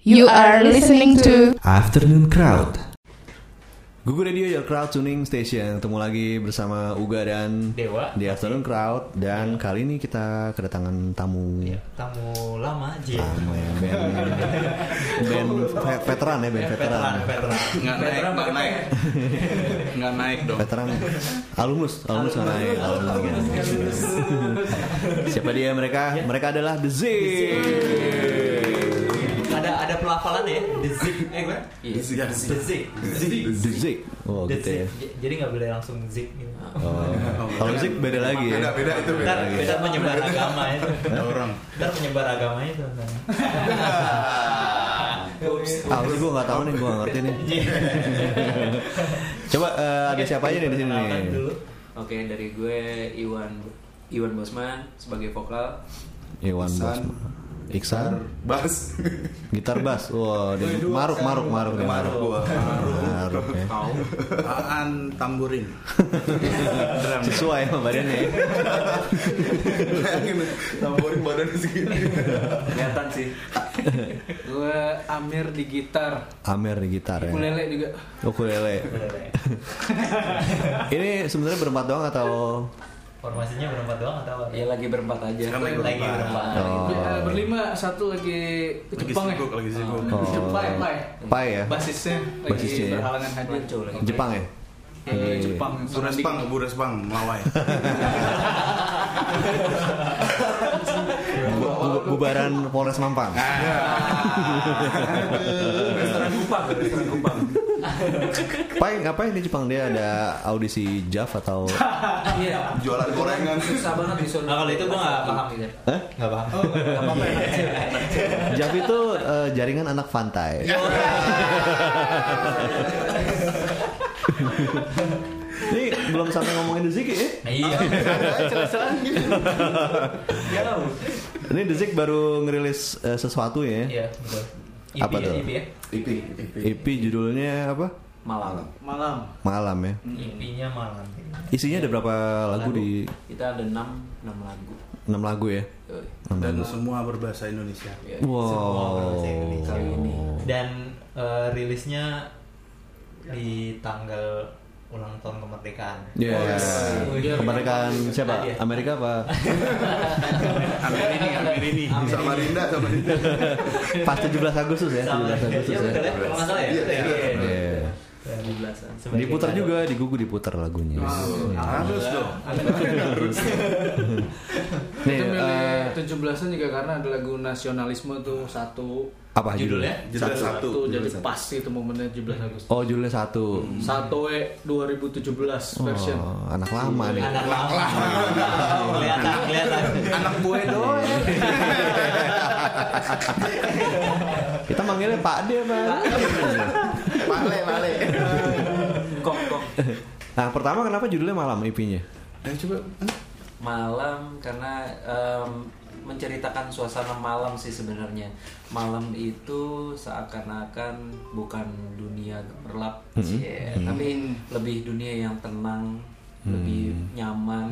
You are listening to Afternoon Crowd. Google Radio Your Crowd Tuning Station. Ketemu lagi bersama Uga dan Dewa di Afternoon Crowd dan kali ini kita kedatangan tamu Ya, tamu lama aja lama ya band band ve- veteran ya band veteran. veteran veteran nggak naik Veteran nggak pakai naik nggak naik dong Veteran alumnus, alumnus mana ya? Alumnus. Siapa dia mereka? Mereka adalah The Zig. ada ada pelafalan ya the zig eh kan Iya, the zig The Zig. Oh The gitu ya. Zig. J- jadi nggak boleh langsung zig gitu Oh. Kalau Zig beda lagi ya. beda beda itu beda ntar lagi. ya. ntar menyebar agama itu ada orang ntar menyebar agama itu ntar. Ups. Ah, ini gue nggak tahu nih, gue nggak ngerti nih. Coba eh, ada siapa aja nih di sini nih? Perkenalkan dulu. Oke dari gue Iwan Iwan Bosman sebagai vokal. Iwan Iksan. Bosman. Iksan, bas gitar bass. Wah, dia maruk, maruk, maruk, dia maruk. gua Maruk ya. aan tamburin Sesuai sama badannya. ya. tamburin badan segini Kelihatan sih. gue Amir di gitar. Amer di gitar ya. Ukulele juga. Ukulele. Ini sebenarnya berempat doang atau formasinya berempat doang atau apa Ya lagi berempat aja. Sekarang lagi lagi berempat. berempat Oh. Eh, berlima satu lagi ke Lagi Ah. Jepang sibuk, ya. lagi sibuk. Oh. Oh. Jepang, Jepang. Pai ya? Basisnya lagi Basisnya ya. berhalangan hadir. Jepang ya? Eh, Jepang. Burespang, Burespang, Melawai. Bu- bu- bubaran Polres Mampang. Restoran Kupang, restoran Kupang. Pai ngapain di Jepang dia ada audisi JAV atau Iya. Jualan gorengan. Susah banget Ah, disuruh. Nah, kalau itu gue nggak paham gitu. Hah? Nggak paham. Iya. Oh, apa-apa. JAV itu eh, jaringan anak pantai. Ini belum sampai ngomongin The Zik ya. Iya. Jauh. Ini The Zik baru ngerilis eh, sesuatu ya. Iya, betul. Apa ya, tuh? IP ya. IP. EP judulnya apa? Malam. Iya. Hmm. Malam. Malam ya. IP-nya malam. Isinya ada berapa lagu di Kita ada 6 6 lagu. 6 lagu ya? Yoi. Enam Dan lagu. semua berbahasa Indonesia. Ya. Semua Wow. berbahasa Indonesia. Kali ini. Dan eh, rilisnya di tanggal ulang tahun kemerdekaan. Oh, iya. Ya. Yes. Kemerdekaan siapa? Nadia. Amerika apa? Ambil ini, ambil ini. Sama Rinda, sama Rinda. Pas 17 Agustus ya, Sama 17 Agustus ya. ya, betul ya? Kalau nggak salah ya? Iya, Betul ya? iya. Iya. Iya. Belasan. Sebagai Diputar kado. juga, di Gugu diputar lagunya. Harus dong. Nih, Itu eh, milih 17-an juga karena ada lagu nasionalisme tuh satu apa judulnya? Judulnya? Jeda satu. satu jadi Jeda satu. pas itu momennya 17 Agustus. Oh, judulnya satu. Satu E 2017 version. Oh, anak lama nih. Anak lama. Kelihatan, kelihatan. Anak gue doang. Kita manggilnya Pak D, Pak. Male, male. Kok kok Nah, pertama kenapa judulnya malam IP-nya? Ayo coba. malam karena em, menceritakan suasana malam sih sebenarnya. Malam itu seakan-akan bukan dunia gemerlap, cie, tapi lebih dunia yang tenang, lebih nyaman.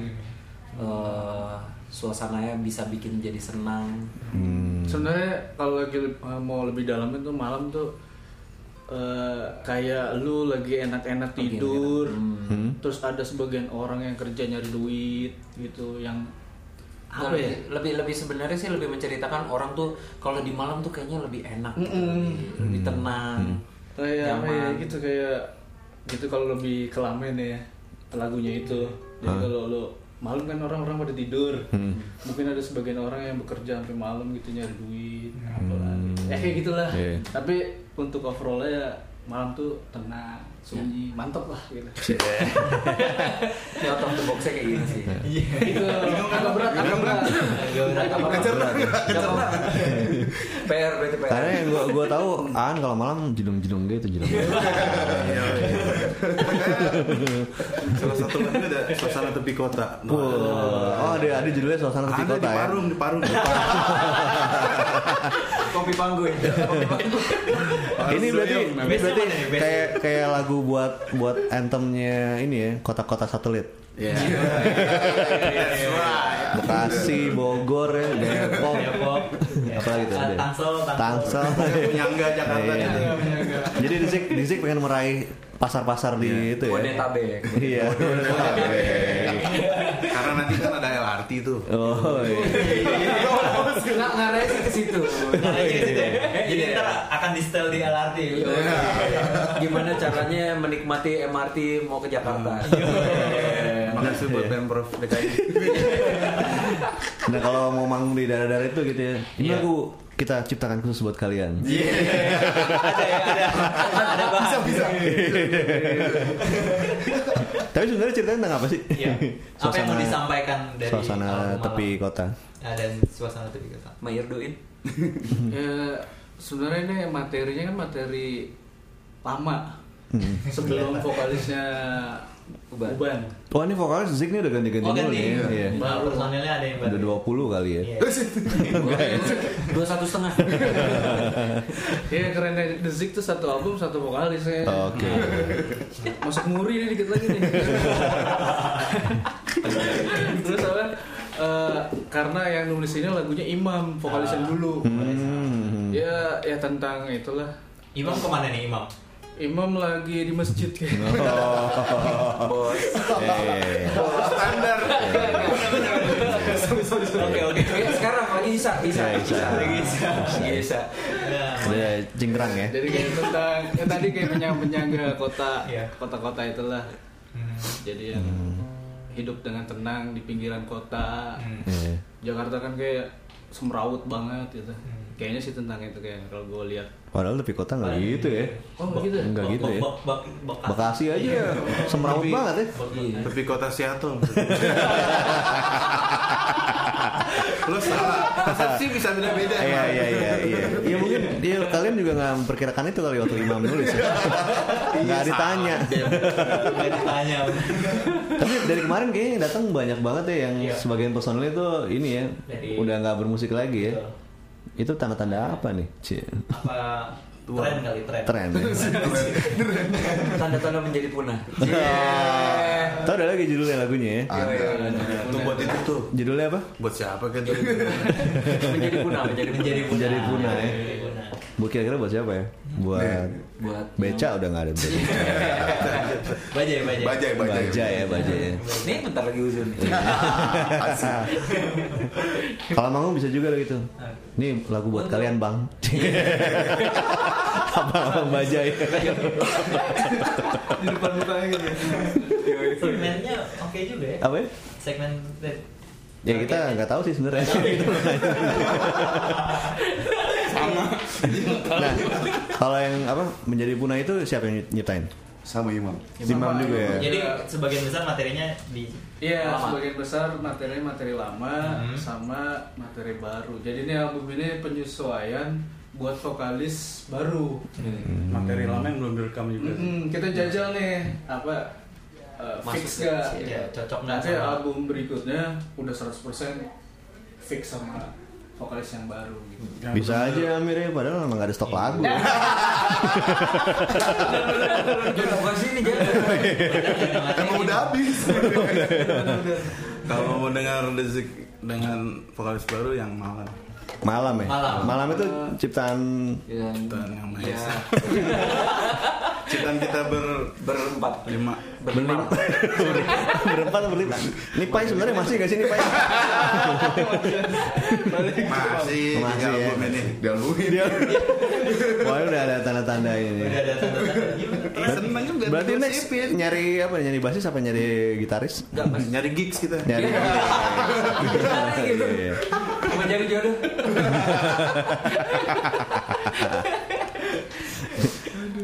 eh, suasananya bisa bikin jadi senang. Hmm. sebenarnya kalau lagi uh, mau lebih dalam itu malam tuh uh, kayak lu lagi enak-enak tidur Hmm. terus ada sebagian orang yang kerja nyari duit gitu yang apa lebih, ya lebih lebih sebenarnya sih lebih menceritakan orang tuh kalau di malam tuh kayaknya lebih enak, lebih, lebih tenang, Hmm. kayak apa ya, nyaman. gitu kayak gitu kalau lebih kelamin ya lagunya itu jadi kalau lu malam kan orang-orang pada tidur mungkin ada sebagian orang yang bekerja sampai malam gitu nyari duit apalah gitu. ya kayak gitulah Iya. tapi untuk overallnya ya malam tuh tenang sunyi mantep lah gitu Ini out of the box-nya kayak gini sih. Iya. itu Iya. agak berat agak berat Agak berat, apa-apa. PR berarti PR. Karena yang ya. gua gua tahu Aan kalau malam jedung-jedung gitu jedung. Salah satu lagi ada suasana tepi kota. Wow. Oh, ada ada judulnya suasana tepi Ada kota di ya. Parung, di Parung. Kopi panggung. Kopi panggung. Ini berarti ini Nah, biasanya berarti mana nih? Biasanya- kayak kayak lagu buat buat anthemnya ini ya, kota-kota satelit. Iya. That's right. Bekasi, Bogor, ya, Depok, Depok. apalagi tuh? Eh, Tangsel, Tangsel. Tangsel, Penyangga Jakarta Iya. gitu. Jadi Rizik, Rizik pengen meraih pasar-pasar di itu ya. Bodetabek. Iya. Karena nanti kan ada LRT tuh. Oh, iya. Nggak ngarahnya sih ke situ. Oh, Nah, jadi gitu ya. Jadi Iya. ntar akan di setel di LRT. Iya. gitu. Gimana caranya menikmati MRT mau ke Jakarta? Hmm. Iya. Makasih Iya. buat Pemprov DKI. Nah kalau mau manggung di daerah-daerah itu gitu ya, ini Iya. aku kita ciptakan khusus buat kalian. Ada ya, ada. Ada bahasa. Bisa. Tapi sebenarnya ceritanya tentang apa sih? Iya. Apa yang mau Suasana- disampaikan dari suasana album malam? tepi kota. Nah, dan suasana tepi kota. Mayer doin. Hmm. ya sebenarnya ini materinya kan materi lama Hmm. sebelum vokalisnya Uban. Uban, Oh ini vokalis Zik nih udah ganti-ganti Oh, mulu ganti. nih. Iya. Nah, personilnya ada yang baru. Udah 20 kali ya. Iya. Dua satu setengah. ya kerennya The Zik tuh satu album satu vokalisnya Oke. masuk muri nih dikit lagi nih terus apa eh, karena yang nulis ini lagunya Imam vokalis yang dulu Hmm. ya ya tentang itulah Imam kemana nih Imam? Imam lagi di masjid kayak Bos. Eh. Standar. Oke oke. Oke, Iya, Sekarang lagi bisa bisa Iya, bisa. bisa bisa. Bisa. Nah, Udah cingkrang ya. jadi kayak tentang ya tadi kayak penyang penyangga kota Iya. kota-kota itulah hmm, jadi yang hidup dengan tenang di pinggiran kota hmm. Iya. Jakarta kan kayak semrawut banget gitu kayaknya sih tentang itu kayak kalau gue lihat Padahal tepi kota nggak gitu ya. oh gitu ya? Enggak Bek- gitu ya. bek- bek- bekas. Bekasi aja semrawut Tapi- banget ya. Iya. Tapi kota Seattle. Lo salah. Persepsi bisa beda-beda. Iya iya emang. iya iya. Ya mungkin dia kalian juga nggak memperkirakan itu kali waktu Imam nulis. ya. Nggak ditanya. Nggak ditanya. Tapi dari kemarin kayaknya yang datang banyak banget ya yang Iya. sebagian personilnya itu ini ya Dari- udah nggak bermusik lagi ya. Betul. Itu tanda-tanda apa nih? Cie. Apa tren kali tren. Tren. Ya? Tanda-tanda menjadi punah. Tahu ada lagi judulnya lagunya ya. Iya, Ada. Tuh buat itu tuh. Judulnya apa? Buat siapa gitu? Menjadi punah menjadi Menjadi punah. Menjadi punah, ya. Menjadi punah. Buat kira-kira buat siapa ya? Buat buat beca udah nggak ada beca. Bajai bajai. Bajai, bajai. Baja ya baja ya. Ini bentar lagi uzun. Iya. Kalau manggung bisa juga gitu. Nih lagu buat kalian bang. Abang-abang baja ya. di depan mukanya gitu Segmennya oke juga ya. Apa ya? Segmen Ya kita nggak tahu sih sebenarnya. Gitu. nah, kalau yang apa menjadi punah itu siapa yang nyiptain? Sama Imam. Zimam juga ya. Jadi sebagian besar materinya di Iya, Lama. sebagian besar materi materi lama sama materi baru. Jadi ini album ini penyesuaian buat vokalis baru. materi lama yang belum direkam juga Mm-mm, kita jajal nih apa uh, fix Masuk gak? ke- ya, cocok nggak Nanti sama- album berikutnya udah 100% fix sama vokalis yang baru gitu. Bisa aja Amir ya, padahal emang gak ada stok lagu. Jangan buka sini Iya. jangan. Emang udah habis. Kalau mau dengar Dezik dengan vokalis baru yang malam, Malam ya. Malam. itu ciptaan dan yang Ya, manis. Ciptaan kita ber berempat. berlima. Berlima. berempat atau berlima. Nipai sebenarnya masih gak sih Nipai? Masih Masih di ya. album ini. Dia. Wah udah ada tanda-tanda ini. Udah ada tanda-tanda gimana? Seneng juga Berarti next digosipin. nyari apa? Nyari basis apa nyari gitaris? Enggak mas. nyari gigs kita. Nyari. gitu. Iya. Menjadi jodoh.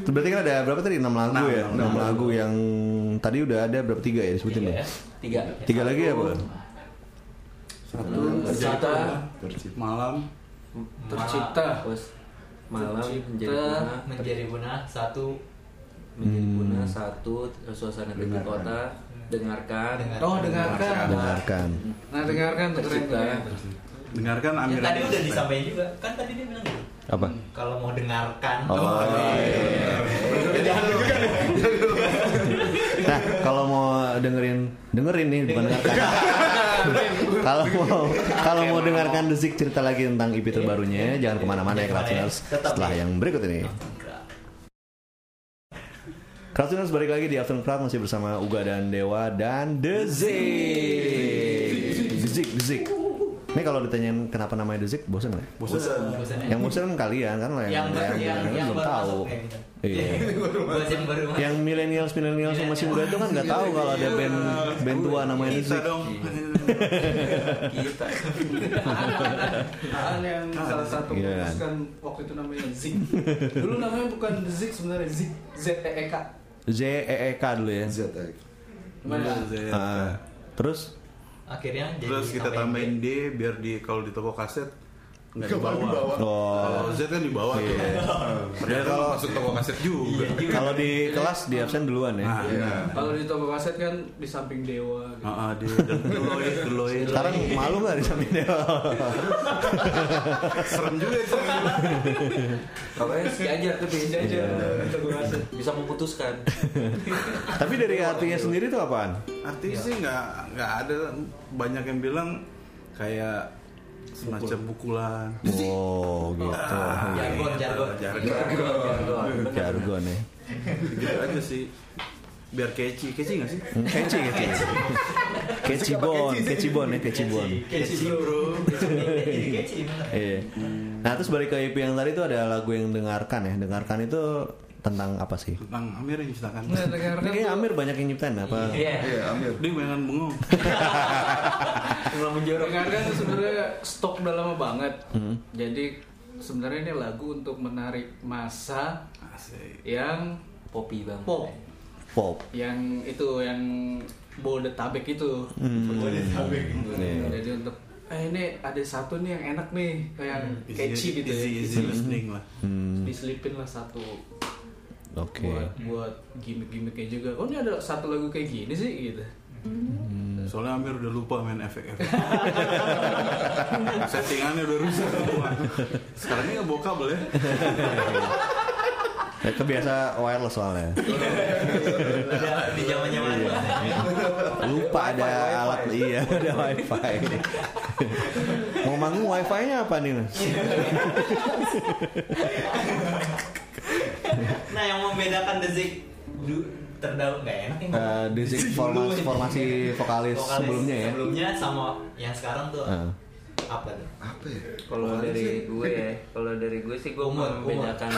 Berarti kan ada berapa tadi? 6 lagu Enam, ya? 6 enam, enam. lagu yang tadi udah ada berapa tiga ya disebutin Tiga ya? ya. Tiga. Tiga lagi ya, Bu? Satu Tercipta. tercipta. Malam. Tercipta. Terus malam menjadi Tercipta. punah. Menjadi punah satu Menjadi Hmm. punah satu suasana tepi kota. Dengarkan. Oh, dengarkan. Dengarkan. Nah, dengarkan tuh keren Tercipta. keren. Dengarkan Ya, Amir. tadi Rais. udah disampaikan juga. Kan tadi dia bilang gitu. Apa? Kalau mau dengarkan. Oh, iya. Nah, kalau mau dengerin, dengerin nih bukan dengarkan. Kalau mau kalau mau dengarkan The Zik cerita lagi tentang IP terbarunya, jangan kemana-mana ya Jangan Kratuners. kemana-mana ya. Iya. Tetap Setelah ya. yang berikut ini. Kratuners balik lagi di Afternoon Crowd masih bersama Uga dan Dewa dan The Zik. The Zik, The Zik. Ini kalau ditanyain kenapa namanya The Zik, bosan nggak? Bosan. Bosan ya. Yang bosan kalian kan lo yang Yang baru- yang- yang- yang belum baru tahu. masuk kayaknya. Iya. Buat yang baru masuk. yang milenials milenials sama masih muda itu kan nggak tahu kalau ada band band tua namanya Iya. The Kita Zik. dong. kita Apaan yang salah satu Gila Iya. kan? memutuskan waktu itu namanya Zik. Dulu namanya bukan Zik sebenarnya Zik Z E E K. Z E E K dulu ya. Gimana? Ah, terus Akhirnya jadi Iya, Terus kita tambahin D biar di kalau di toko kaset nggak dibawa. oh, Kalau Z kan dibawa tuh. Iya. Ternyata kalau- masuk toko kaset juga. kalau di kelas di absen duluan ya. Nah, iya. Kalau di toko kaset kan di samping Dewa. Gitu. Ah, ah, D dan Deloy, Deloy. Sekarang malu nggak di samping dia? serem juga itu. kalau si aja tapi Bisa aja di toko kaset. bisa memutuskan Tapi dari artinya sendiri tuh apaan? Artinya sih nggak nggak ada banyak yang bilang kayak semacam pukulan. Nah, Oh gitu. Ah, iya, Jargon, jargon. Jargon. Iya, Jargon ya. Gitu aja sih. Biar keci, keci nggak sih? Hmm, Keci keci. Keci bon, keci bon ya keci bon. Keci bro. Jadi keci bener. Iya. Nah terus balik ke IP yang tadi itu ada lagu yang dengarkan ya. Dengarkan itu tentang apa sih? Tentang Amir yang ciptakan. Nah, dengarkan Ini kayak tuh- Amir banyak yang nyiptain apa? iya Dia mainan bengong. cuma menjorok Dengarkan tuh kan sebenarnya stok udah lama banget. Hmm. Jadi sebenarnya ini lagu untuk menarik masa Asik. yang popi bang pop, Pop. yang itu yang Bodetabek itu. Hmm, Bodetabek. Iya. Jadi untuk eh ini ada satu nih yang enak nih kayak catchy gitu Hmm. easy, Hmm. ya. easy listening lah. Mm-hmm. Diselipin lah satu Oke. buat buat gimmick-gimmicknya juga. Oh ini ada satu lagu kayak gini sih gitu. Soalnya Amir udah lupa main efek-efek. Settingannya udah rusak semua. Sekarang ini nggak bokabel ya. Ya, kebiasa wireless soalnya. Udah di zaman zaman Iya. Lupa ada alat iya ada wifi. Mau manggung wifi-nya apa nih? Mas? Nah yang membedakan The Zik du- terdahulu nggak enak ya. Eh, The Zik forma- formasi vokalis sebelumnya ya? Sebelumnya sama yang sekarang tuh Eh. apa tuh? kalau dari gue ya kalau dari gue sih gue mau Umur, umur. membedakan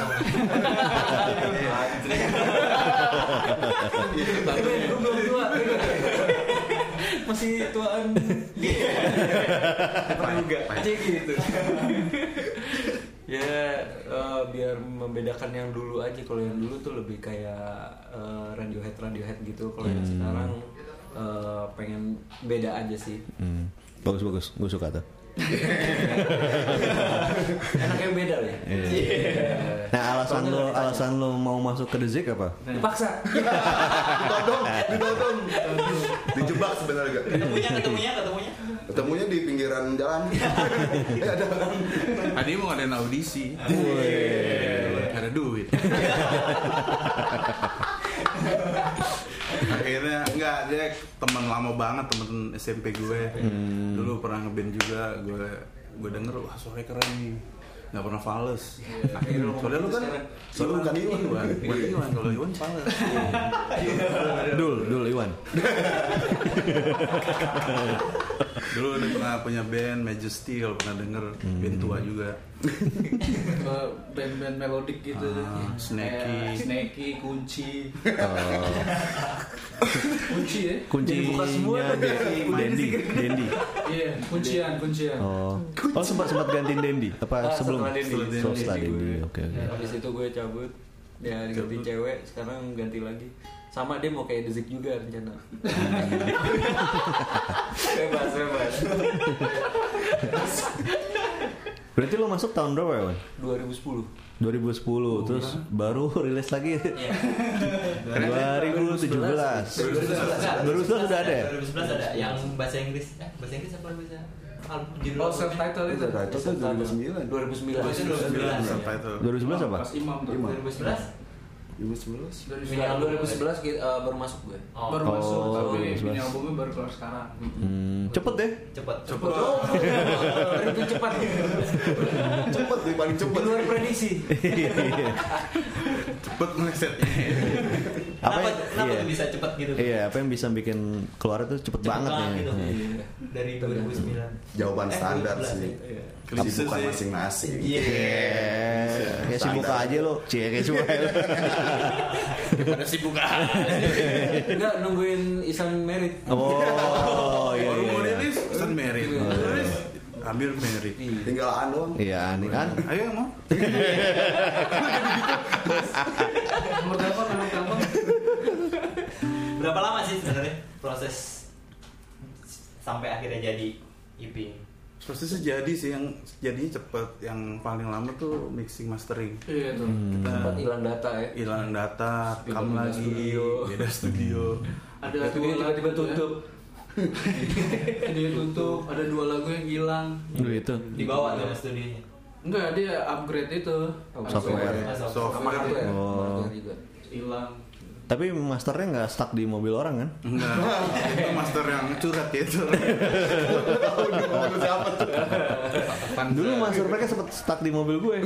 Tapi gue belum tua. masih tuaan juga aja gitu ya eh, biar membedakan yang dulu aja kalau yang dulu tuh lebih kayak eh, radiohead radiohead gitu kalau Hmm. yang sekarang eh, pengen beda aja sih Hmm. Bagus bagus, gue suka tuh. enak yang beda lah ya Iya. Nah alasan Eh, Soalnya lo nggak ditanya. alasan lo mau masuk ke The Zik apa? dipaksa ditodong ditodong dijebak sebenarnya Ketemunya ketemunya ketemunya. ketemunya di pinggiran jalan eh ada orang Tadi mau ngadain audisi. Ada duit. Akhirnya enggak dia teman lama banget teman SMP gue. Dulu pernah ngeband juga gue gue denger wah suaranya keren nih. Gak pernah fales. Akhirnya soalnya lu kan soalnya bukan Iwan, Iwan. Iya. Bukan Iwan kalau Iwan fales. Dul, Dul Iwan. Dulu dia pernah punya band Majesty kalau pernah denger band tua juga. Eh, Band-band melodik gitu. Ah, snacky. Kayak snacky, kunci. kunci ya? Kuncinya Dendi, Dendi, Dendi. Iya, kuncian, kuncian. Oh, oh sempat sempat gantiin Dendi apa Ah, sebelum? setelah Dendi. Setelah Dendi. Setelah Dendi, oke oke. Ya, habis itu gue cabut ya ganti cewek sekarang ganti lagi sama dia mau kayak Dezik juga rencana bebas bebas Berarti lo masuk tahun berapa ya, Wan? 2010 2010 terus baru rilis lagi 2017 2011 sudah ada ya? 2011 ada yang bahasa Inggris. Eh, bahasa Inggris apa bahasa? Album judul. Oh, subtitle itu. Subtitle. Itu 2009. 2009 Oh, itu 2009. Apa itu? 2011 apa? Pas Imam tuh. 2011. 2011 minimal 2011 kita, eh, baru masuk gue Oh. baru masuk Oh, tapi bagus, mini bagus. albumnya baru keluar sekarang Hmm, cepet deh. Cepet. Cepet. Oh. baru itu cepat cepet nih paling di cepet luar prediksi Cepet melesetnya. apa Kenapa, kenapa iya. tuh bisa cepet gitu? Iya, apa yang bisa bikin keluar itu cepet, Cepet banget, banget nih. gitu. Iya. Iya. Dari 2009. jawaban Eh, standar sih 2011 ya. Iya. Krisis bukan sih. masing-masing Iya. Ya sibuk Standar. aja lo, Iya, cek semua. Pada sibuk ah. enggak nungguin Isan merit Oh, iya Baru iya. iya. mau rilis, pesan merit. Iya. Rilis, Hampir merit. tinggal an doang Iya, aneh kan? Ayo mau. nomor telepon nomor telepon Berapa lama sih sebenarnya proses sampai akhirnya jadi EP? Prosesnya jadi sih yang jadinya cepet. Yang paling lama tuh mixing mastering. iya tuh Hmm. tempat Kita hilang data ya hilang data, Beda- rekam beda lagi, studio. beda studio. ada Tapi dia dua tiba-tiba lagu ya. tutup dia tutup ada dua lagu yang hilang Dulu itu. Dibawa tuh ke studionya. enggak dia upgrade itu Iya. Software. Mas Sof. Sof. Iya. sama hardware Oh. sama hardware juga hilang Tapi masternya nggak stuck di mobil orang kan? Enggak, itu master yang curhat ya itu. Dulu master mereka sempet stuck di mobil gue.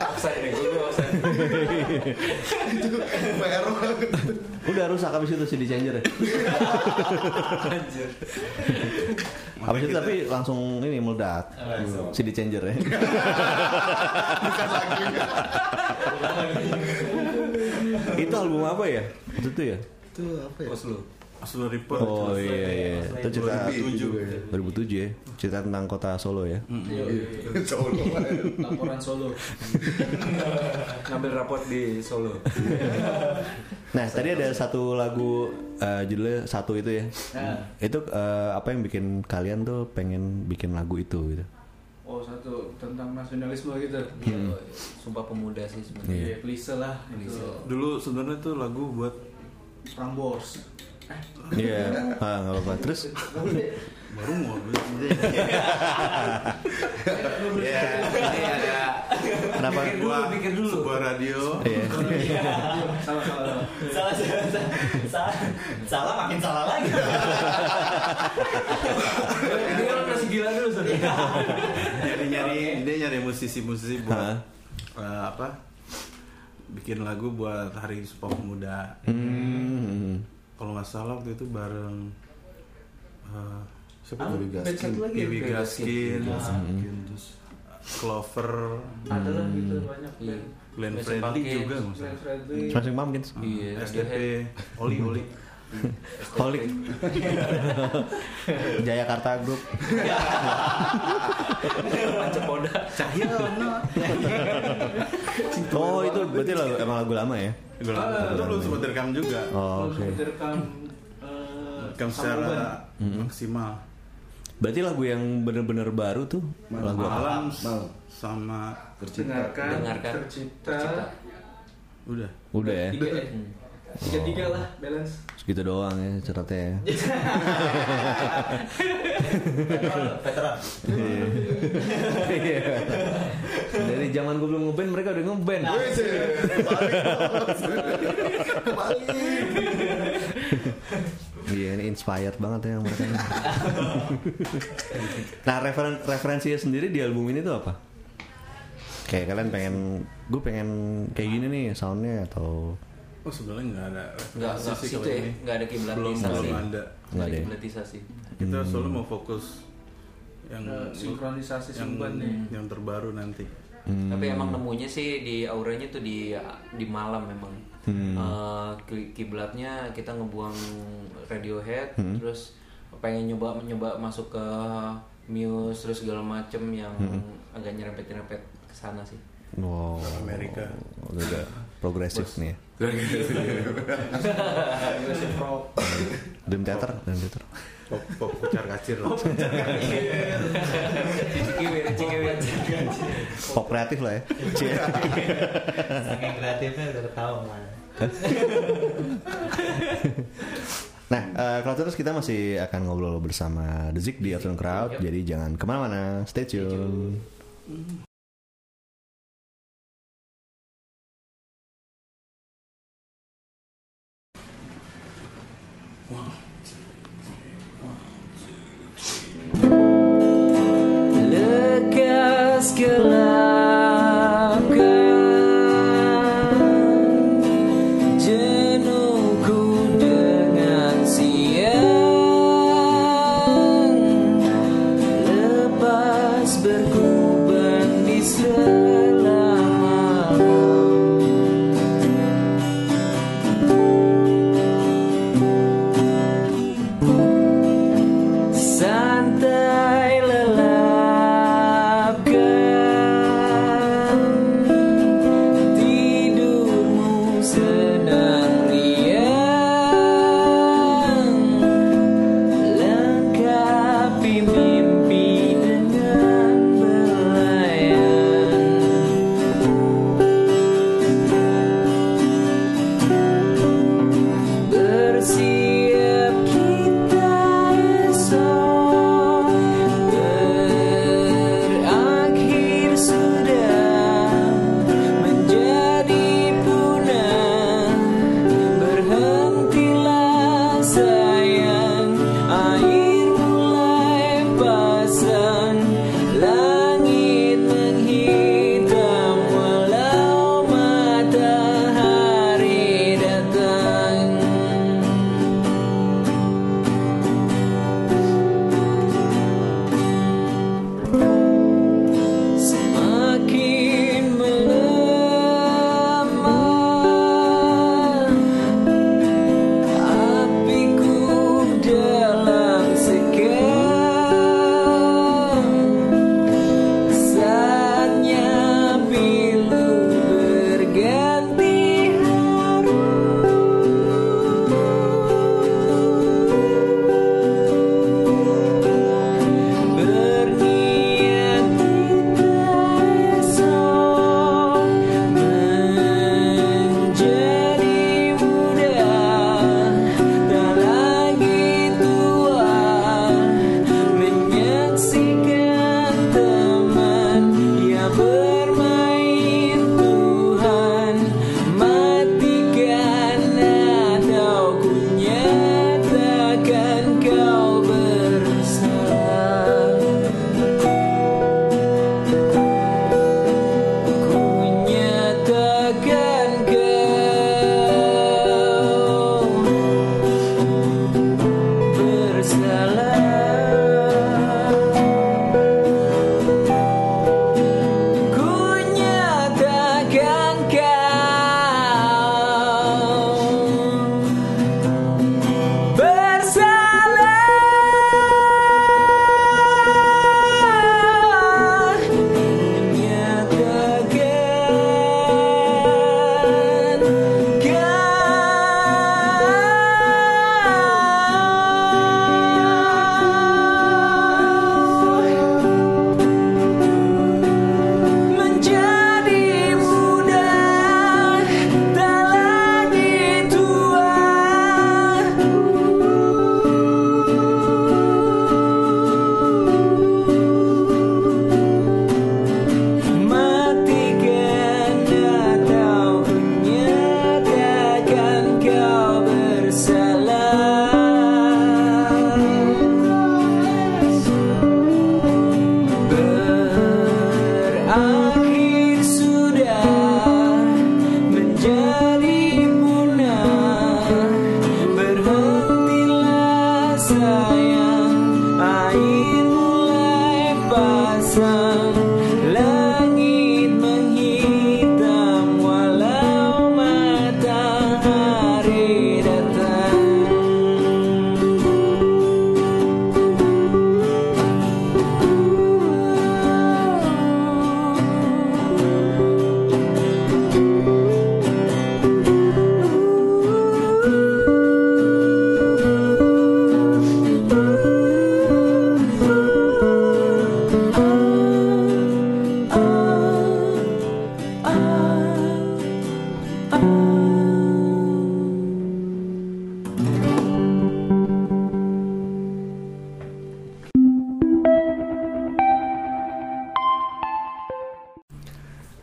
offside nih gue gue offside PR banget. Udah rusak habis itu CD changer. ya. anjir Habis itu tapi langsung ini meledak. Langsung. CD changer ya. itu album apa ya? Itu tuh ya? itu apa ya Oslo Aslo report. Oh iya iya. Itu cerita 2007. 2007 ya. Cerita tentang kota Solo ya. Jauh lumayan. laporan solo ngambil raport di Solo Nah, tadi ada satu lagu eh, judulnya satu itu ya. Itu eh, apa yang bikin kalian tuh pengen bikin lagu itu gitu? oh satu tentang nasionalisme gitu Oh, iya. sumpah pemuda sih iya sebenarnya please lah itu Dulu sebenarnya tuh lagu buat Prambors Iya. Ah, nggak apa-apa. Terus baru mau Iya. Kenapa? Pikir dulu, pikir dulu. sebuah radio Iya. salah salah Salah, salah, salah, salah, salah makin salah lagi. dia orang masih gila dulu sebenarnya nyari nyari dia nyari musisi musisi buat Hah? eh, apa bikin lagu buat hari sumpah pemuda Hmm. kalau nggak salah waktu itu bareng eh, siapa tuh? Dewi Gaskin. satu lagi Dewi Dewi Gaskin, Gaskin, terus Clover, Ah, ada lah gitu banyak Iya. Glenn Mason Fredly Pumpkins. juga nggak salah. Glenn Fredly Smashing Pumpkins. Iya, Radiohead. SDP, Oli Oli, Holik. Jayakarta Group. Pancepoda Oh, itu berarti lagu, emang lagu lama ya? Ah, Itu belum sempat direkam juga. Oh, Terus Oke. direkam eh, Rekam Sambuban. secara maksimal. Berarti lagu yang bener-bener baru tuh lagu apa? Malam Malam. sama dengarkan, Dengarkan. tercipta, Tercipta. udah. Udah ya. tiga ya tiga tiga lah balance Segitu doang ya ceritanya. ya. Veteran, Veteran. Iya. Dari zaman gue belum ngeband mereka udah ngeband. Wih, sih. Balik, Bos. Balik. Iya ini inspired banget ya mereka. ini. nah referen referensinya sendiri di album ini tuh apa? Kayak kalian pengen, gue pengen kayak gini nih soundnya atau Oh sebenarnya nggak ada. nggak referensi nggak sih situ kalau ya ini. nggak ada Belum kiblatisasi belum nggak ada. Nggak ada ada ya? kiblatisasi Kita selalu mau fokus yang Eh, sinkronisasi yang sumban nih yang terbaru nanti. tapi emang nemunya sih di auranya tuh di di malam memang Eh, ki- kiblatnya kita ngebuang Radiohead terus pengen nyoba nyoba masuk ke Muse terus segala macem yang agak nyerempet nyerempet ke sana sih wow Amerika. udah progresif nih. Ya. agresif rock Dream Theater, Dream Theater. Pop pop kucar kacir lah. Cikiwir, cikiwir. Pop kreatif lah ya. Cie. Iya. Iya. Saking kreatifnya udah ketahuan mana. Nah, eh, kalau terus kita masih akan ngobrol bersama The Zik di Afternoon Crowd, jadi jangan kemana-mana, stay tune. Lekas gelapkan jenuhku dengan siang Lepas berkuban di selama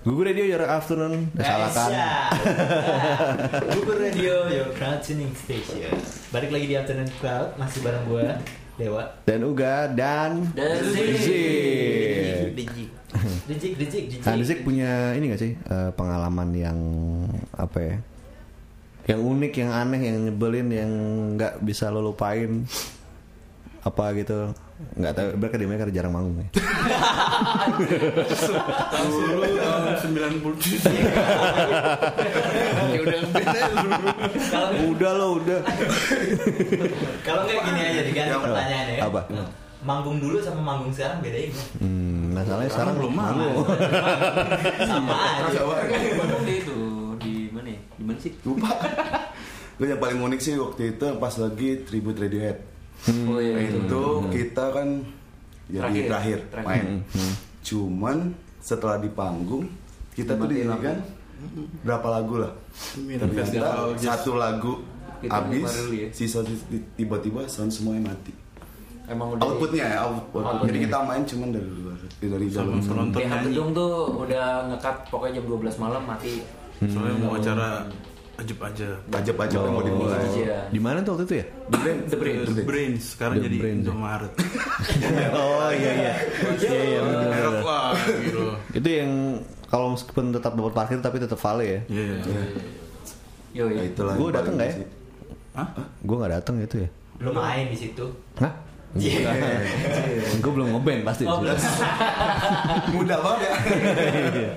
afternoon. Eh, Salah kan? Bubur Nah, iya. Radio, your crowd tuning station. Balik lagi di Afternoon Crowd, masih bareng gua, Dewa. Dan Uga dan Dan Zik. Zik. Dijik, dijik, dijik. Iya. Nah, Zik punya ini gak sih eh, pengalaman yang apa ya? Yang unik, yang aneh, yang nyebelin, yang nggak bisa lo lupain apa gitu nggak tahu berarti dia mereka jarang manggung ya Dulu tahun 97 Ya udah Kalau udah lo udah kalau nggak gini aja diganti Apa? pertanyaannya ya. Iya. Apa? Manggung dulu sama manggung sekarang bedanya gimana? hmm, masalahnya sekarang belum manggung. sama aja. Bandung dia itu di mana ya? Di mana sih? Lupa. Gue yang paling unik sih waktu itu pas lagi tribute Radiohead. Oh iya Hmm, Itu kita kan jadi Terakhir. terakhir, Terakhir. main. Cuman setelah di panggung kita tuh Dimatiin diingatkan berapa lagu lah. Ternyata satu lagu Kita habis, baru ya. sisa tiba-tiba sound semuanya mati. Emang udah Outputnya ya, output. Outputnya. Jadi kita main cuman dari luar, dari dalam. Penonton Pihak nyanyi gedung tuh udah ngekat pokoknya jam 12 malam mati. Soalnya mau Hmm. acara ajib aja Pajak-pajak yang mau dimulai. Gitu. Iya. di mana tuh waktu itu ya The Brain, The Brain, Brains, sekarang The jadi Brains, ya. Indomaret oh iya iya iya iya bener, bener, Merek bener. lah gitu itu yang kalau meskipun tetap dapat parkir tapi tetap vale ya Iya iya. Yo, Nah, yo. itulah. Gua yang paling dateng nggak ya? sih. Hah? gue nggak datang gitu ya Belum main di situ. Hah? Iya. gue belum ngeband pasti Oh, belum. Muda banget ya. Iya.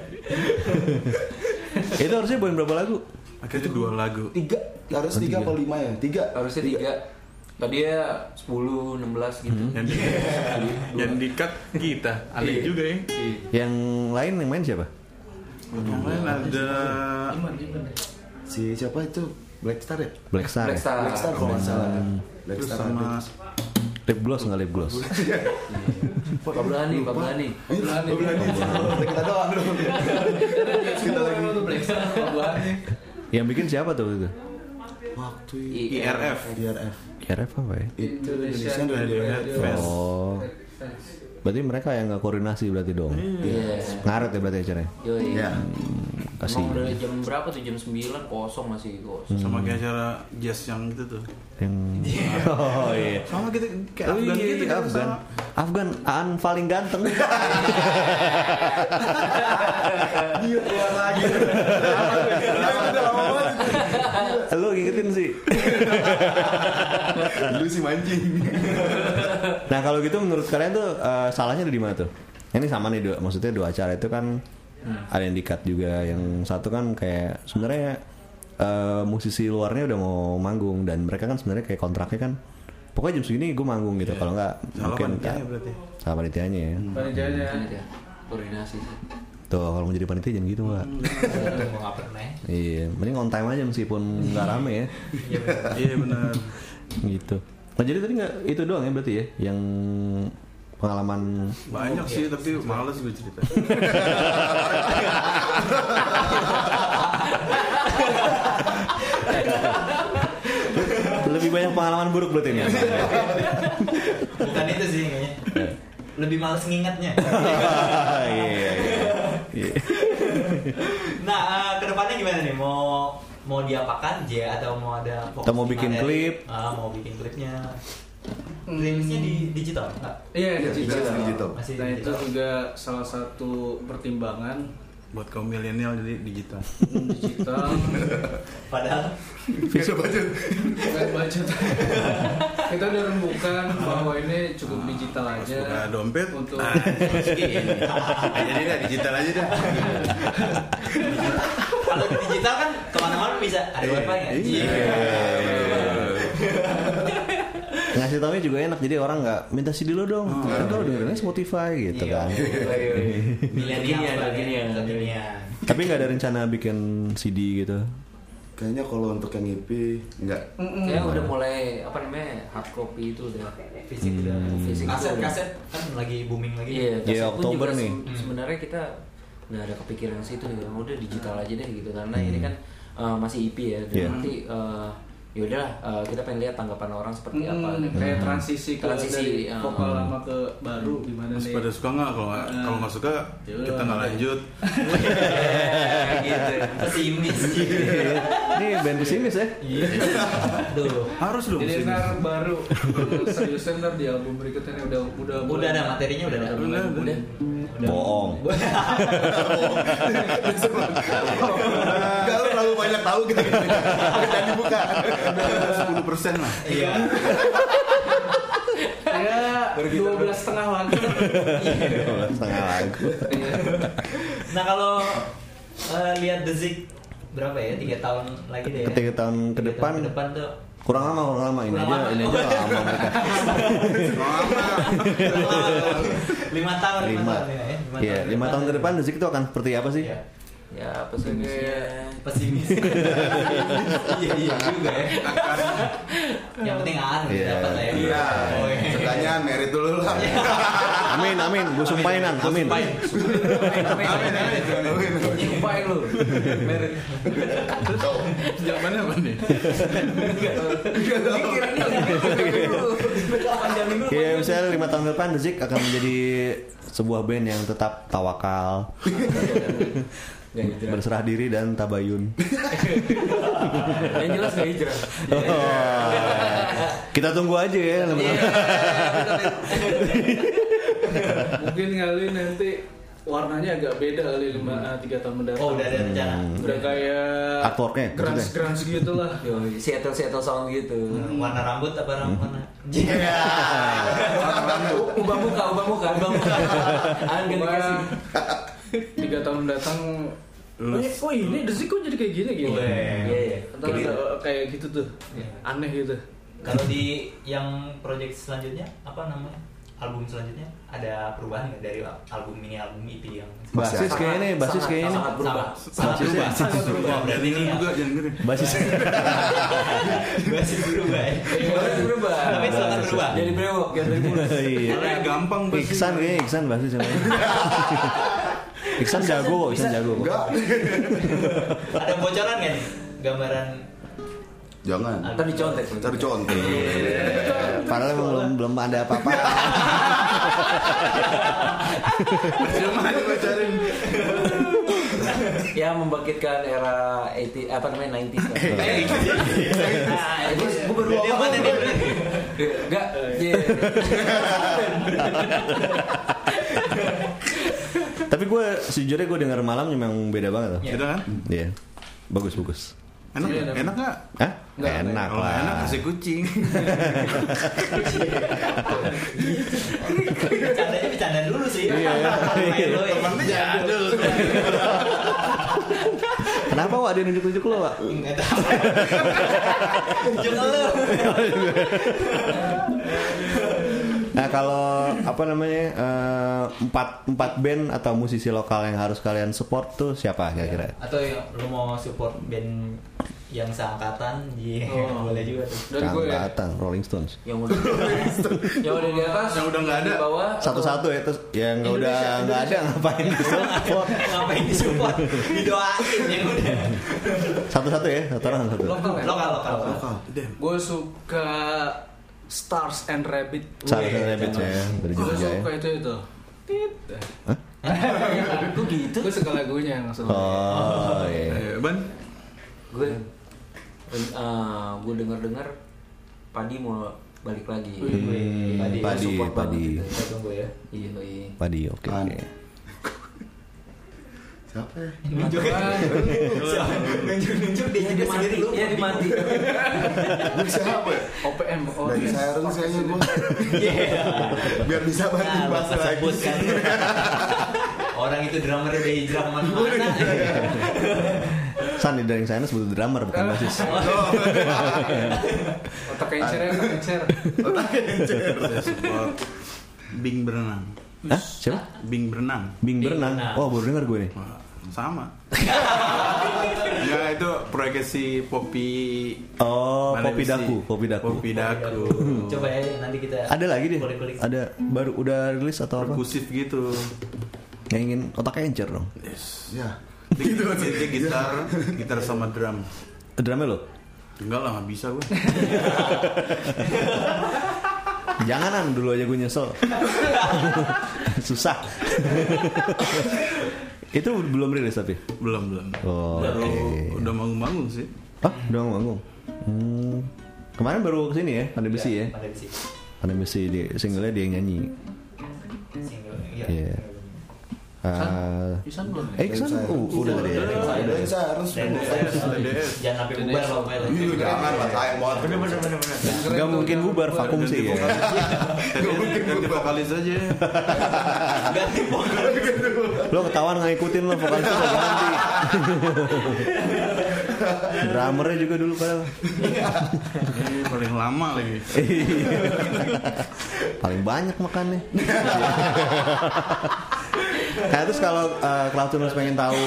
itu harusnya bukan berapa lagu Akhirnya dua lagu Tiga, harus tiga atau lima ya? Tiga. Harusnya Iya. tiga. Tadi ya 10, 16 gitu. Yang Hmm. di Yang di cut kita Aneh Iya. juga ya Iya. yang lain yang main siapa Yang lain ada Si siapa itu? Black Star ya? Black Star, Black ya? Star. Black Star kalau nggak salah. Black Terus Star sama ada. Lip Gloss nggak Lip Gloss Pablani, Pablani. Iya, gua bilang gitu. Kita doang dong. Kita lagi. yang bikin siapa tuh waktu itu Waktu IRF IRF KRF apa ya itu Indonesian Radiohead Radiohead Fest. Fest. oh berarti mereka yang nggak koordinasi berarti dong Iya. ngaret ya berarti acaranya Yo, iya. Ya, Hmm. kasih Emang udah jam berapa tuh? Jam 9 kosong masih kosong. Sama kayak acara jazz yang gitu tuh yang oh iya Sama gitu kayak Oh, Afgan iya, gitu iya, kita Afgan. sama. Afgan An paling ganteng. Iya, dia Iya, keluar lagi. Udah lama banget. Lo ngikutin sih. Lu sih mancing. Nah, kalau gitu menurut kalian tuh eh, salahnya ada di mana tuh? Ini sama nih dua, maksudnya dua acara itu kan Hmm. ada yang dikat juga. Yang satu kan kayak sebenarnya eh, musisi luarnya udah mau manggung dan mereka kan sebenarnya kayak kontraknya kan pokoknya jam segini gue manggung gitu. Kalau nggak Salah mungkin Iya. panitianya nggak- berarti. Hmm. Salah panitianya ya. Ini dia. Ya, Koordinasi sih. Tuh, kalau mau jadi panitia jangan gitu, Hmm, Pak. Mau nggak pernah. Iya, mending on time aja meskipun nggak rame ya. Iya benar. gitu nah jadi tadi nggak itu doang ya berarti ya yang pengalaman Banyak sih tapi males gue cerita. lebih banyak pengalaman buruk berarti ini Bukan itu sih kayaknya. Lebih males ngingetnya. Iya, iya, iya. Nah, eh, kedepannya gimana nih? Mau mau diapakan J atau mau ada fokus Atau mau di bikin materi? klip? Ah, mau bikin klipnya. Klipsnya di digital enggak? Iya, Iya, digital. digital, digital. Masih Nah itu digital. juga salah satu pertimbangan Buat kaum milenial jadi digital. digital Padahal Bisa budget. bukan budget. kita udah rembukan bahwa ini cukup digital Ah, aja. Buka dompet. untuk Nah, iya, jadi dah digital aja dah. kalau di digital kan kemana-mana bisa ada Iya. Iya. wifi ya. ngasih taunya juga enak jadi orang nggak minta CD lo dong kan kalau dengerinnya Spotify gitu Iya. kan Milenial Kekinian, sebagai kekinian. kekinian. tapi nggak ada rencana bikin CD gitu Kayaknya kalau untuk yang EP enggak. Kayaknya udah mulai apa namanya hard copy itu udah Hmm. Fisik udah. Fisik Kaset udah. kaset kan lagi booming lagi. Iya, Iya, kaset pun Oktober juga nih. se- Hmm. Sebenarnya kita nggak ada kepikiran eh, ke situ gitu. Udah digital aja deh gitu karena ini kan uh, masih IP ya. Hmm. Dan Iya. nanti uh, yaudah eh, kita pengen lihat tanggapan orang seperti apa gitu. Hmm, kayak Hmm. transisi ke Transisi, dari ya. vokal lama ke baru gimana Terus nih pada suka nggak kalau nggak- Nah. kalau nggak suka kita nggak lanjut. gitu pesimis gitu Ini band pesimis ya. Duh. Harus dong jadi sini. ntar baru seriusan ntar di album berikutnya nih udah udah udah ada materinya udah ada Udah, udah. Bohong. Enggak lu terlalu banyak tahu gitu gitu. Dan dibuka. 10 persen lah. iya ya dua belas setengah lagu Setengah lagu. nah kalau eh, lihat The Zig berapa ya tiga tahun lagi deh ya? Ketika tahun ke Tiga depan tahun ke depan tuh kurang lama kurang lama ini Kurang aja lama. ini aja lama mereka. Iya. lima tahun Lima. tahun ya, ya. Iya, lima tahun ke depan Zik itu akan seperti apa sih? Iya. ya pesimisnya pesimis iya iya juga ya yang penting an Iya. dapat lah ya Iya. Oh, iya. Setidaknya merit dulu lah. Amin amin, gue sumpahin Nan, amin. ya nyumpain lu zamannya apa nih Iya, misalnya lima tahun ke depan Zik akan menjadi sebuah band yang tetap tawakal, gak hijrah berserah diri dan tabayun. yang jelas gak hijrah Kita tunggu aja ya. lama- mungkin kali nanti warnanya agak beda kali Hmm. lima ah, tiga tahun mendatang oh udah ada rencana udah kayak Artworknya keren grunge deh. grunge gitu lah Yoi, Seattle Seattle sound gitu Hmm. warna rambut apa rambut warna Iya. ubah muka ubah muka ubah muka An ganti Cuma kasih tiga tahun mendatang Oh, ini- oh ini Desi kok jadi kayak gini gitu. iya iya Ntar ada kayak gitu tuh. Iya. Aneh gitu. kalau di yang project selanjutnya apa namanya album selanjutnya ada perubahan nggak dari album mini album EP yang Basis kayak ini, basis Sangat- kayak ini. sangat berubah sangat berubah sangat berubah berarti ini Juga juga jangan gini. Basis. Iya. masih berubah ya Sangat berubah tapi sangat berubah jadi brewok jadi brewok Iya. Karena gampang pasti. Iksan iya. kayaknya Iksan pasti sama Iksan jago kok, Iksan jago kok. Enggak. ada bocoran nggak nih gambaran Jangan. ntar dicontek Cari contoh. Iya, Padahal emang belum belum ada apa-apa. ya membangkitkan era 80 apa namanya 90s lah. Nah, itu gue baru Jadi gitu. apa tadi? Enggak. iya. Tapi gue sejujurnya gue dengar malam memang beda banget loh. Gitu kan? Iya. Bagus bagus. Enak nggak? enak nggak? Hah? Enak Kalau lah. nggak enak kasih kucing. bercandanya bercanda dulu sih Main lo ya. Kenapa Wak dia nunjuk-nunjuk lo Wak? Nggak tahu. Tunjuk lu. Nah kalau apa namanya eh, empat empat band atau musisi lokal yang harus kalian support tuh siapa kira-kira? atau yang lu mau support band yang seangkatan iya boleh juga tuh Dari gue ya. Angkatan Rolling Stones. Yang udah yang udah di atas, Yang udah nggak ada. di bawah Satu-satu ya terus yang nggak udah nggak ada ngapain di support? ngapain di support didoain yang udah Satu-satu ya, satu orang satu. Lokal ya. lokal lokal lokal Damn. Gue suka Stars and Rabbit. Sarah Rabbit ya dari Gue Jogja ya. suka itu itu. Tit. gue gitu Gue suka lagunya maksudnya. Oh iya. Eh, Ban, gue eh, gue dengar dengar padi mau balik lagi Hmm, Padi, Padi, support banget Padi. gitu. kita tunggu ya iya iya Padi oke oke. Siapa ya? nunjuk nunjuk nunjuk dia Iya, jadi dia mati sendiri lu Iya, dia mati Gue siapa ya? OPM. Oh, Dari Siren kayaknya gue Iya. biar bisa bantu Nah, bahas bakal lagi. sebut kan. Orang itu drummer udah hijrah kemana-mana. San di Daring sana sebut drummer bukan basis. Otak encer ya, otak encer. saya support Bing berenang. Hah? Siapa? Bing berenang. Bing berenang. berenang. Oh baru denger gue nih. Wah, sama. ya itu proyeknya si Poppy. Oh, Mana Poppy sih? Daku, Poppy Daku. Poppy Daku. Coba ya nanti kita Ada lagi deh. kulik-kulik. Ada baru udah rilis atau apa? Perkusif gitu. Yang ingin otaknya encer dong. Ya. kan ya. Gitu gitar, gitar sama drum. Drumnya lo? Enggak lah, nggak bisa gue. Janganan dulu aja gue nyesel. Susah. itu belum rilis tapi. belum belum. Oh, Baru oke. udah manggung-manggung sih. Hah, udah manggung. Hmm. Kemarin baru kesini ya, pandai besi ya. Pada besi. Pandai besi di singlenya dia yang nyanyi. Single. Iya. Iya. Eh, Pisan belum ya? eh kesana? Uh, udah tadi. ya? Udah bisa harus Dan jangan sampai bubar loh Mel. Iya, jangan lah sayang banget. Bener bener Gak mungkin bubar vakum sih ya. Ganti vokalis aja. Ganti bubar. Lo ketahuan nggak ngikutin lo vokalis lo ganti. Drummernya juga dulu padahal. Ini paling lama lagi. Paling banyak makannya. Nah terus kalau uh, Klautunus pengen tahu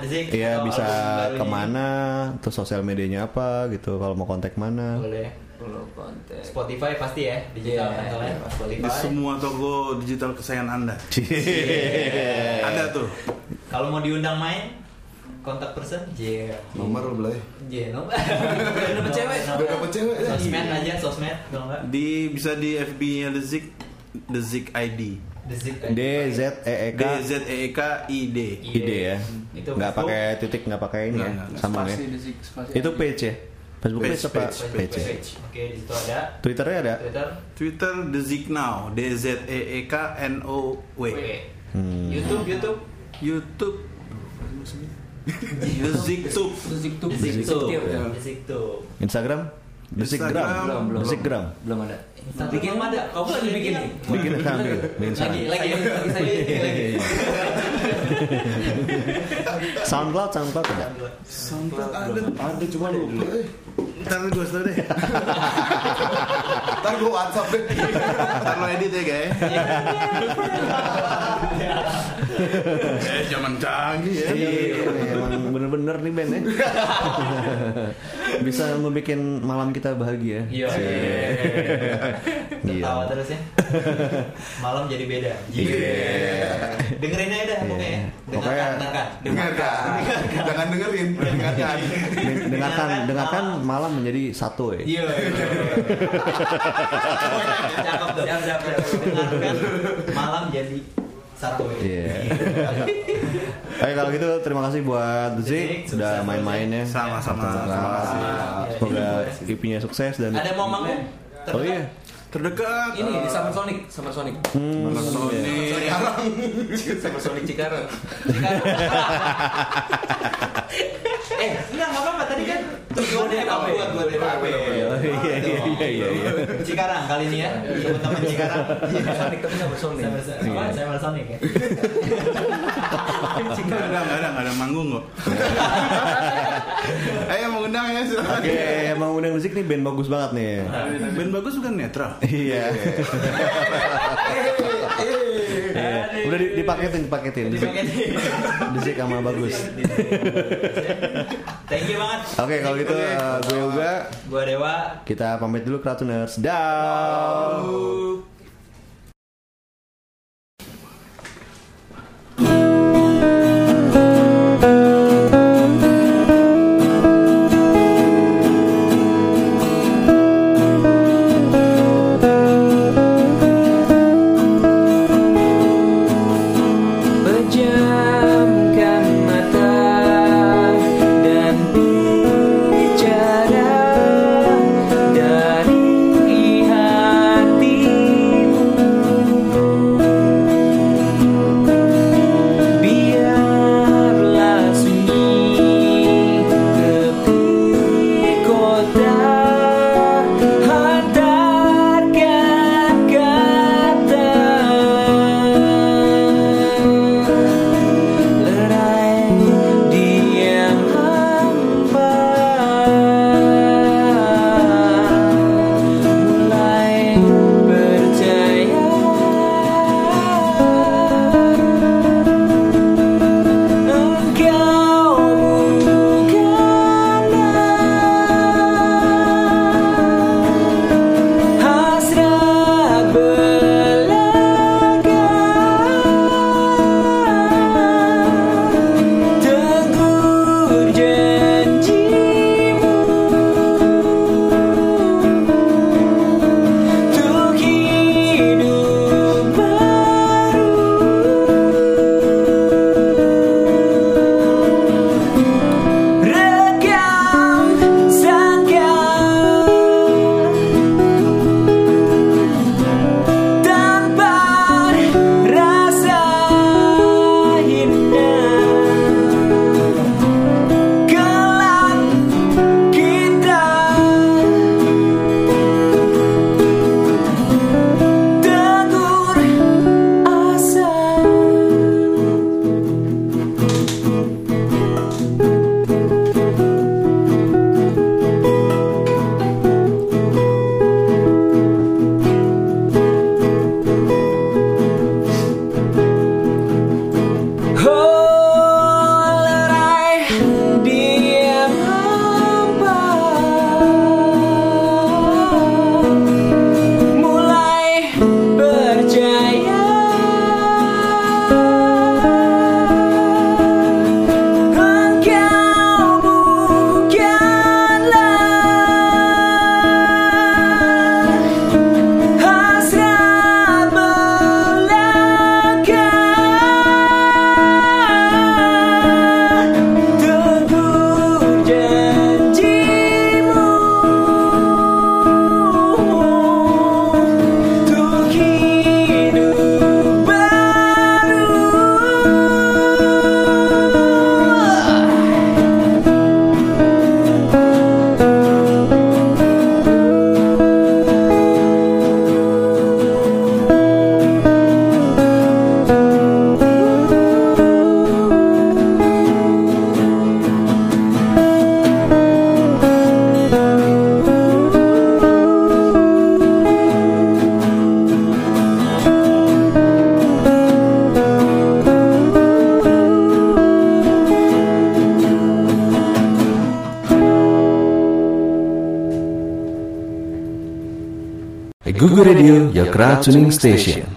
eh, The Zik Iya atau bisa album barunya. kemana Terus sosial medianya apa gitu Kalau mau kontak mana Boleh. Kalau konten. Spotify pasti ya digital Iya, kan soalnya. iya. Di Spotify. semua toko digital kesayangan Anda. Eh. Ada tuh. Kalau mau diundang main kontak person J Nomor lu boleh. J nomor nomor cewek Udah dapet cewek ya. sosmed aja sosmed kalau nggak Di bisa di FB-nya The Zik The Zik ID. The Zik D Z E E K D Z E K I D. ID ya Itu nggak Facebook. pakai titik nggak pakai ini ya Nggak, nggak, nggak. sama ya Spasi, desik, spasi. itu page ya Facebook page, Page, apa page, page, Facebook ya? page. Oke di situ ada Twitternya ada Twitter Twitter The Zik Now. D Z E E K N O W W. YouTube YouTube YouTube The Zik Tube. Desik tuh. The Zik Zik Tube. Tube, ya. The Zik Tube. Instagram Desikgram Instagram. Belum, belum. Desikgram Belum ada. Instagram bikin belum ada. Kamu lagi bikin nih. bikin sambil bikin Lagi, sound. lagi, lagi, lagi, lagi. SoundCloud SoundCloud ada Soundcloud ada. Ada cuma lupa. eh. Ntar gue setel deh. Ntar gua WhatsApp deh. Ntar lo edit ya guys. eh zaman canggih ya. Iya, emang bener-bener nih Ben ya. Bisa membuat malam kita bahagia. Iya. Sih. Tertawa Iya. terus ya. Malam jadi beda. Iya. Dengerin aja dah pokoknya. Iya. Dengarkan, Pokoknya- dengarkan. Dengarkan. Jangan dengerin. Dengarkan. Den- Dengarkan, Iya. Dengarkan dengarkan malam menjadi satu ya. Iya. Cakep tuh. Dengarkan malam jadi satu. Iya. Oke kalau gitu terima kasih buat Zik Zik, sudah sukses, main-main ya. Sama-sama. Terima kasih. Semoga IP-nya sukses dan Ada mau manggung? Oh iya. Terdekat. Ini di Summer Sonic, Summer Sonic. Hmm. Mana Sony. Summer Sonic Cikarang. Eh, enggak enggak apa-apa tadi kan tujuannya apa buat buat DKP. Oh, iya, iya, iya, iya, iya. Cikarang kali ini ya. Teman-teman Cikarang. Summer Iya, Sonic tapi Summer Sonic. Iya. Sama sama Sonic ya. Gak ada, gak ada, gak ada manggung kok. Ayo mau undang ya silakan. Oke, emang undang Zik nih band bagus banget nih. Band bagus bukan netral. Iya. Iya. Udah di- dipaketin, dipaketin. Zik. Zik sama bagus. Thank you banget. Oke, kalau gitu eh, gue juga Gua Dewa. kita pamit dulu Kratuners. Dah. Pejamkan mata dan bicara dari hati Keracuning Station.